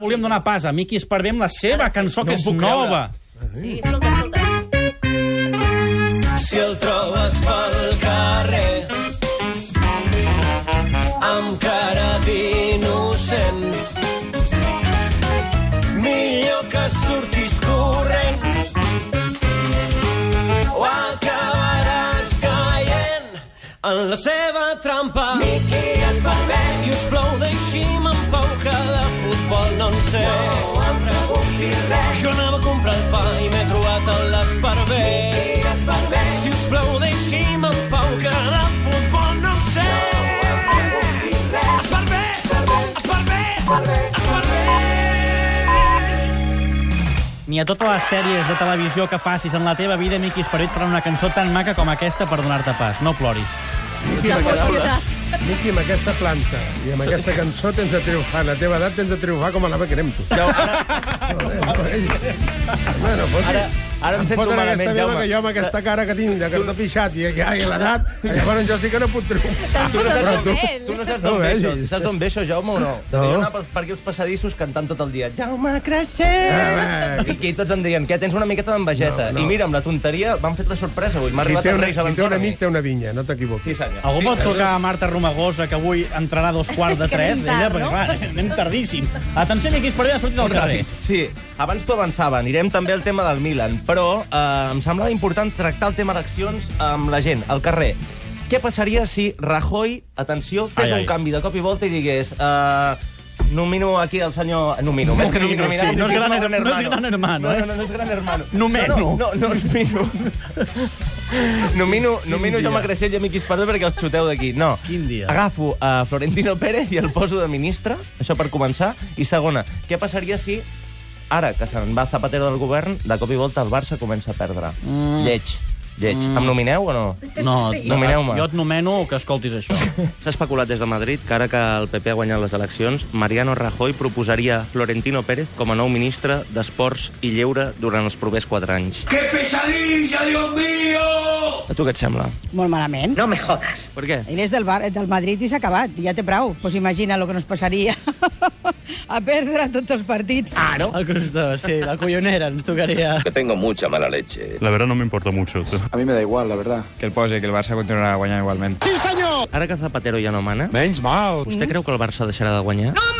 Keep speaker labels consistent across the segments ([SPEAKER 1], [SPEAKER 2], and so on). [SPEAKER 1] volíem donar pas a Miqui Esparvé amb la seva cançó, que
[SPEAKER 2] No
[SPEAKER 1] és
[SPEAKER 2] ho puc creure.
[SPEAKER 1] nova.
[SPEAKER 3] Sí, escolta, escolta.
[SPEAKER 4] si el trobes pel carrer amb cara d'innocent millor que surtis corrent o acabaràs caient en la seva trampa Miqui es va bé si us plou deixi'm en pau que de futbol no en sé no em preguntis res jo anava a comprar el pa i m'he trobat en l'esparver Miqui esparver si us plou deixi'm en pau que de futbol no en sé Esparver! Esparver! Esparver! Esparver!
[SPEAKER 1] Ni a totes les sèries de televisió que facis en la teva vida, Miqui Esparvé et farà una cançó tan maca com aquesta per donar-te pas. No ploris.
[SPEAKER 2] Miqui, amb aquesta,
[SPEAKER 3] S'emociona.
[SPEAKER 2] Miqui, amb aquesta planta i amb aquesta cançó tens de triomfar. A la teva edat tens de triomfar com a l'Ava Cremto.
[SPEAKER 5] Ja, ara,
[SPEAKER 2] Bueno, fotis.
[SPEAKER 5] ara, ara em
[SPEAKER 2] Em
[SPEAKER 5] sento
[SPEAKER 2] foten
[SPEAKER 5] malament,
[SPEAKER 2] aquesta meva,
[SPEAKER 5] Jaume.
[SPEAKER 2] que jo amb aquesta cara que tinc de cartó pixat i, i, i l'edat, llavors jo sí que no puc triomfar.
[SPEAKER 3] T'has posat
[SPEAKER 2] Però tu-
[SPEAKER 3] malament.
[SPEAKER 5] Tu no saps
[SPEAKER 2] No
[SPEAKER 5] d'on ve això.
[SPEAKER 2] vegis.
[SPEAKER 5] Saps d'on ve això, Jaume, o no?
[SPEAKER 2] No.
[SPEAKER 5] Jo anava per aquí els passadissos cantant tot el dia. Jaume, creixent!
[SPEAKER 2] Ah,
[SPEAKER 5] I aquí tots em deien, què, tens una miqueta d'envejeta.
[SPEAKER 2] No, no.
[SPEAKER 5] I mira, amb la tonteria m'han fet la sorpresa avui. M'ha
[SPEAKER 2] Qui
[SPEAKER 5] arribat
[SPEAKER 2] té,
[SPEAKER 5] el
[SPEAKER 2] una,
[SPEAKER 5] Reis
[SPEAKER 2] qui té un
[SPEAKER 5] Avançada.
[SPEAKER 2] amic té una vinya, no t'equivoquis.
[SPEAKER 5] Sí, eh? senyor.
[SPEAKER 1] Algú pot trucar a Marta Romagosa, que avui entrarà a dos quarts de
[SPEAKER 3] Que anem
[SPEAKER 1] tres? Ella,
[SPEAKER 3] tard,
[SPEAKER 1] perquè,
[SPEAKER 3] no?
[SPEAKER 1] clar, anem tardíssim. Atenció, Miqui Esparvé ha sortit al carrer.
[SPEAKER 5] Sí, abans t'ho avançava, anirem també al tema del Milan, però eh, em semblava important tractar el tema d'accions amb la gent, al carrer. Què passaria si Rajoy, atenció, fes
[SPEAKER 1] Ai,
[SPEAKER 5] ai,
[SPEAKER 1] ai.
[SPEAKER 5] un canvi de cop i volta i digués... Eh, nomino aquí el senyor... eh, Nomino.
[SPEAKER 1] És que nomino,
[SPEAKER 5] Nominat-
[SPEAKER 1] sí, no és gran her-
[SPEAKER 5] hermano.
[SPEAKER 1] no és gran hermano, eh?
[SPEAKER 5] No, no, no és gran hermano.
[SPEAKER 1] Nomeno.
[SPEAKER 5] No, no, no, no nomino. nomino, nomino jo
[SPEAKER 1] dia.
[SPEAKER 5] m'acreixell i amic Ispardo perquè els xuteu d'aquí. No.
[SPEAKER 1] Quin dia.
[SPEAKER 5] Agafo a Florentino Pérez i el poso de ministre, això per començar. I segona, què passaria si ara que se'n va Zapatero del govern, de cop i volta el Barça comença a perdre? Mm. Lleig, lleig. Mm. Em nomineu o no?
[SPEAKER 1] No,
[SPEAKER 3] Sí.
[SPEAKER 5] Nomineu-me.
[SPEAKER 1] jo et nomeno que escoltis això.
[SPEAKER 6] S'ha especulat des de Madrid que ara que el PP ha guanyat les eleccions, Mariano Rajoy proposaria Florentino Pérez com a nou ministre d'Esports i Lleure durant els propers quatre anys.
[SPEAKER 7] ¡Qué pesadilla, Dios mío!
[SPEAKER 5] A tu què et sembla?
[SPEAKER 8] Molt malament. No me jodas.
[SPEAKER 6] Per què?
[SPEAKER 8] Ell és del, bar, eh, del Madrid i s'ha acabat, ja té prou. Pues imagina el que nos passaria a perdre tots els partits. Ah,
[SPEAKER 1] El costó, sí, la collonera ens tocaria.
[SPEAKER 9] Que tengo mucha mala leche.
[SPEAKER 10] La verdad no me importa mucho.
[SPEAKER 7] A mí me da igual, la verdad.
[SPEAKER 4] Que el posi, que el Barça continuarà guanyant igualment.
[SPEAKER 6] Ara que Zapatero ja no mana,
[SPEAKER 2] Menys mal.
[SPEAKER 6] vostè creu que el Barça deixarà de guanyar? No.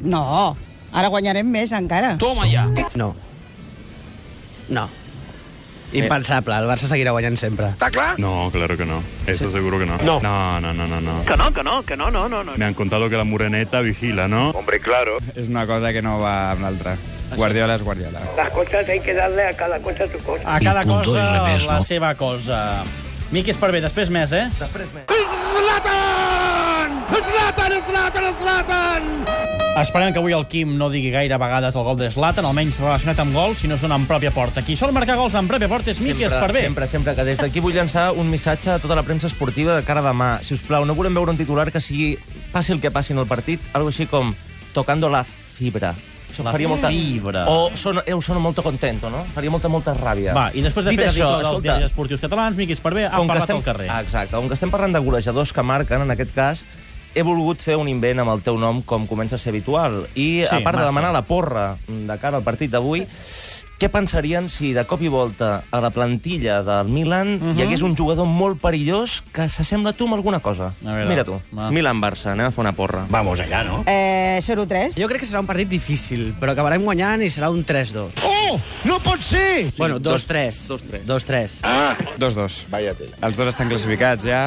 [SPEAKER 8] No, ara guanyarem més encara.
[SPEAKER 1] Toma ja!
[SPEAKER 11] No. No. Impensable. El Barça seguirà guanyant sempre.
[SPEAKER 10] No, claro que no. Eso seguro que no. No. No, no, no, no.
[SPEAKER 7] Que no, que no, que no, no, no. no.
[SPEAKER 10] Me han contado que la moreneta vigila, ¿no?
[SPEAKER 9] Hombre, claro.
[SPEAKER 4] És una cosa que no va amb l'altra. Guardiola és Guardiola.
[SPEAKER 1] A cada cosa la seva cosa. Miqui Esparvé, després més, eh?
[SPEAKER 7] ¡Zlatan! ¡Zlatan, Zlatan, Zlatan!
[SPEAKER 1] Esperem que avui el Quim no digui gaire vegades el gol de Zlatan, almenys relacionat amb gols, si no són en pròpia porta. Qui sol marcar gols en pròpia porta és Miqui Esparvé.
[SPEAKER 5] sempre, sempre, que des d'aquí vull llançar un missatge a tota la premsa esportiva de cara a demà. Si us plau, no volem veure un titular que sigui, passi el que passi en el partit, algo així com tocando la fibra. Això
[SPEAKER 1] La
[SPEAKER 5] faria molta...
[SPEAKER 1] fibra.
[SPEAKER 5] O sono, eu sono molto contento, no? Faria molta, molta ràbia.
[SPEAKER 1] Va, i després de
[SPEAKER 5] Dit
[SPEAKER 1] fer
[SPEAKER 5] això,
[SPEAKER 1] article dels
[SPEAKER 5] escolta,
[SPEAKER 1] diaris esportius catalans, Miqui Esparvé ha
[SPEAKER 5] com que
[SPEAKER 1] parlat
[SPEAKER 5] estem...
[SPEAKER 1] al carrer.
[SPEAKER 5] Ah, Exacte, com que estem parlant de golejadors que marquen, en aquest cas, he volgut fer un invent amb el teu nom, com comença a ser habitual. I,
[SPEAKER 1] Sí,
[SPEAKER 5] sí, a
[SPEAKER 1] massa.
[SPEAKER 5] part de demanar la porra de cara al partit d'avui, què pensarien si de cop i volta a la plantilla del Milan hi hagués un jugador molt perillós que s'assembla a tu amb alguna cosa?
[SPEAKER 1] A veure,
[SPEAKER 5] Mira tu.
[SPEAKER 1] va.
[SPEAKER 6] Milan-Barça, anem a fer una porra.
[SPEAKER 11] Vamos allá, ¿no?
[SPEAKER 8] Eh, 0-3.
[SPEAKER 11] Jo crec que serà un partit difícil, però acabarem guanyant i serà un 3-2.
[SPEAKER 2] Oh, no pot ser!
[SPEAKER 11] bueno, 2-3.
[SPEAKER 6] 2-3.
[SPEAKER 11] 2-3.
[SPEAKER 4] 2-2.
[SPEAKER 9] Vaya tela.
[SPEAKER 4] Els dos estan classificats ja.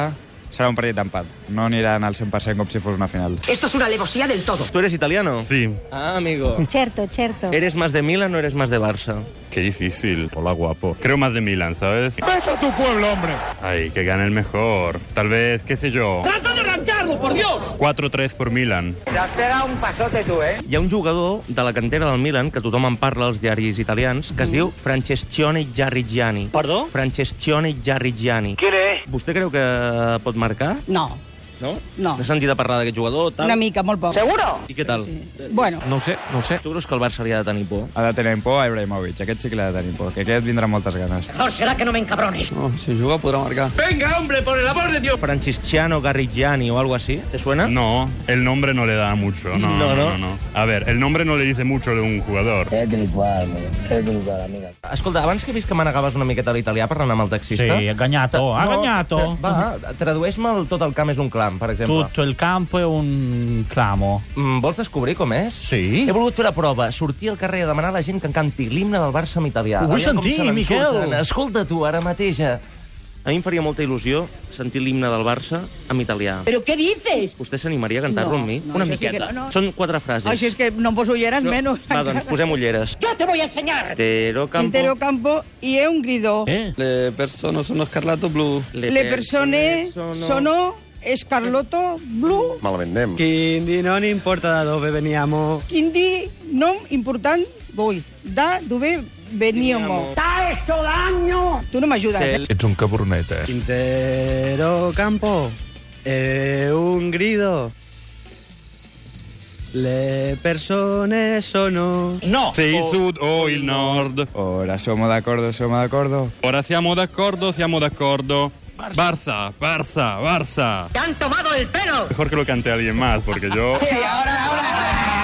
[SPEAKER 4] Serà un partit d'empat. No aniran al 100% com si fos una final.
[SPEAKER 8] Esto es una alevosía del todo.
[SPEAKER 6] Tu eres italiano?
[SPEAKER 10] Sí.
[SPEAKER 5] Ah, amigo.
[SPEAKER 3] Certo, certo.
[SPEAKER 5] Eh.
[SPEAKER 6] Eres más de Milan o eres más de Barça?
[SPEAKER 10] Qué difícil. Hola, guapo. Creo más de Milan, ¿sabes?
[SPEAKER 2] Vete a tu pueblo, hombre.
[SPEAKER 10] Ay, que gane el mejor. Tal vez, qué sé yo. ¡Trata de arrancarlo, por Dios! 4-3 por Milan.
[SPEAKER 5] ¿eh?
[SPEAKER 6] Hi ha un jugador de la cantera del Milan, que tothom en parla als diaris italians, que es diu Franceschione Giarrigiani. Perdó? Franceschione Giarrigiani.
[SPEAKER 7] ¿Quién es?
[SPEAKER 6] Vostè creu que pot marcar?
[SPEAKER 8] No,
[SPEAKER 5] no?
[SPEAKER 8] No.
[SPEAKER 5] Has sentit a parlar d'aquest jugador? Tal?
[SPEAKER 8] Una mica, molt poc.
[SPEAKER 5] Seguro? I què tal?
[SPEAKER 8] Bueno,
[SPEAKER 5] No ho sé, no ho sé. Tu creus que el Barça li ha de tenir por?
[SPEAKER 9] Ha de tenir por a Ibrahimovic, aquest sí que l'ha de tenir por, que aquest vindrà amb moltes ganes.
[SPEAKER 4] No será que no me encabrones.
[SPEAKER 5] No, si juga podrà marcar.
[SPEAKER 4] Venga, hombre, por el amor de Dios.
[SPEAKER 5] Francisciano Garrigiani o algo así, ¿te suena?
[SPEAKER 10] No, el nombre no le da mucho. No,
[SPEAKER 5] ¿Eh? No,
[SPEAKER 10] no,
[SPEAKER 5] no.
[SPEAKER 10] no. no. A ver, el nombre no le dice mucho de un jugador.
[SPEAKER 5] Escolta, abans que he vist que manegaves una miqueta l'italià parlant amb el taxista...
[SPEAKER 1] Sí, ha gagnato, ha gagnato.
[SPEAKER 5] Va, tradueix-me el tot el camp és un clam, per exemple.
[SPEAKER 1] Tutto el campo è un clamo.
[SPEAKER 5] Mm, Vols descobrir com és?
[SPEAKER 1] Sí.
[SPEAKER 5] He volgut fer la prova, sortir al carrer a demanar a la gent que em canti l'himne del Barça en italià.
[SPEAKER 1] Ho vull
[SPEAKER 5] Aviam com
[SPEAKER 1] sentir,
[SPEAKER 5] se n'en
[SPEAKER 1] Miquel.
[SPEAKER 5] surten. Escolta tu, ara mateix. eh.
[SPEAKER 6] A mi em faria molta il·lusió sentir l'himne del Barça en italià.
[SPEAKER 3] ¿Pero qué dices?
[SPEAKER 6] Vostè s'animaria a cantar-lo
[SPEAKER 8] No,
[SPEAKER 6] amb mi?
[SPEAKER 8] no,
[SPEAKER 6] Una
[SPEAKER 8] això sí que
[SPEAKER 6] miqueta.
[SPEAKER 8] no, no.
[SPEAKER 6] Són quatre frases.
[SPEAKER 8] així és que no em poso ulleres, menys.
[SPEAKER 6] Va, doncs posem ulleres.
[SPEAKER 3] Yo te voy a enseñar.
[SPEAKER 6] Tero Campo.
[SPEAKER 8] Intero campo i he un gridó.
[SPEAKER 1] Eh?
[SPEAKER 9] Le persone sono scarlato blu.
[SPEAKER 8] Le
[SPEAKER 5] eh,
[SPEAKER 8] persone sono Escarloto Blue.
[SPEAKER 2] Malament anem.
[SPEAKER 11] Quindi non importa da dove veniamo.
[SPEAKER 8] Quin di nom important vull. Da d'ove veníamos.
[SPEAKER 7] ¡Está hecho daño!
[SPEAKER 8] Tu no m'ajudes, eh?
[SPEAKER 2] Ets un cabronet, eh?
[SPEAKER 11] Intero campo
[SPEAKER 6] Eh,
[SPEAKER 11] è un grido. Le persone sono...
[SPEAKER 1] No!
[SPEAKER 10] Sí, il sud o oh, il nord.
[SPEAKER 9] Ora siamo d'accordo, siamo d'accordo.
[SPEAKER 10] Ora siamo d'accordo, siamo d'accordo. Barça, Barça, Barça.
[SPEAKER 7] ¡Te han tomado el pelo!
[SPEAKER 10] Mejor que lo cante alguien más, porque yo...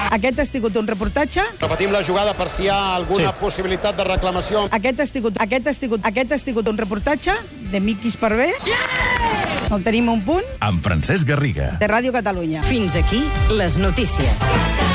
[SPEAKER 8] Aquest ha sigut un reportatge.
[SPEAKER 2] Repetim la jugada per si hi ha alguna sí. possibilitat de reclamació.
[SPEAKER 8] Aquest ha sigut, aquest ha sigut, aquest ha sigut un reportatge de Miquis per bé. El tenim un punt
[SPEAKER 12] Amb Francesc Garriga.
[SPEAKER 8] de Ràdio Catalunya.
[SPEAKER 13] Fins aquí les notícies.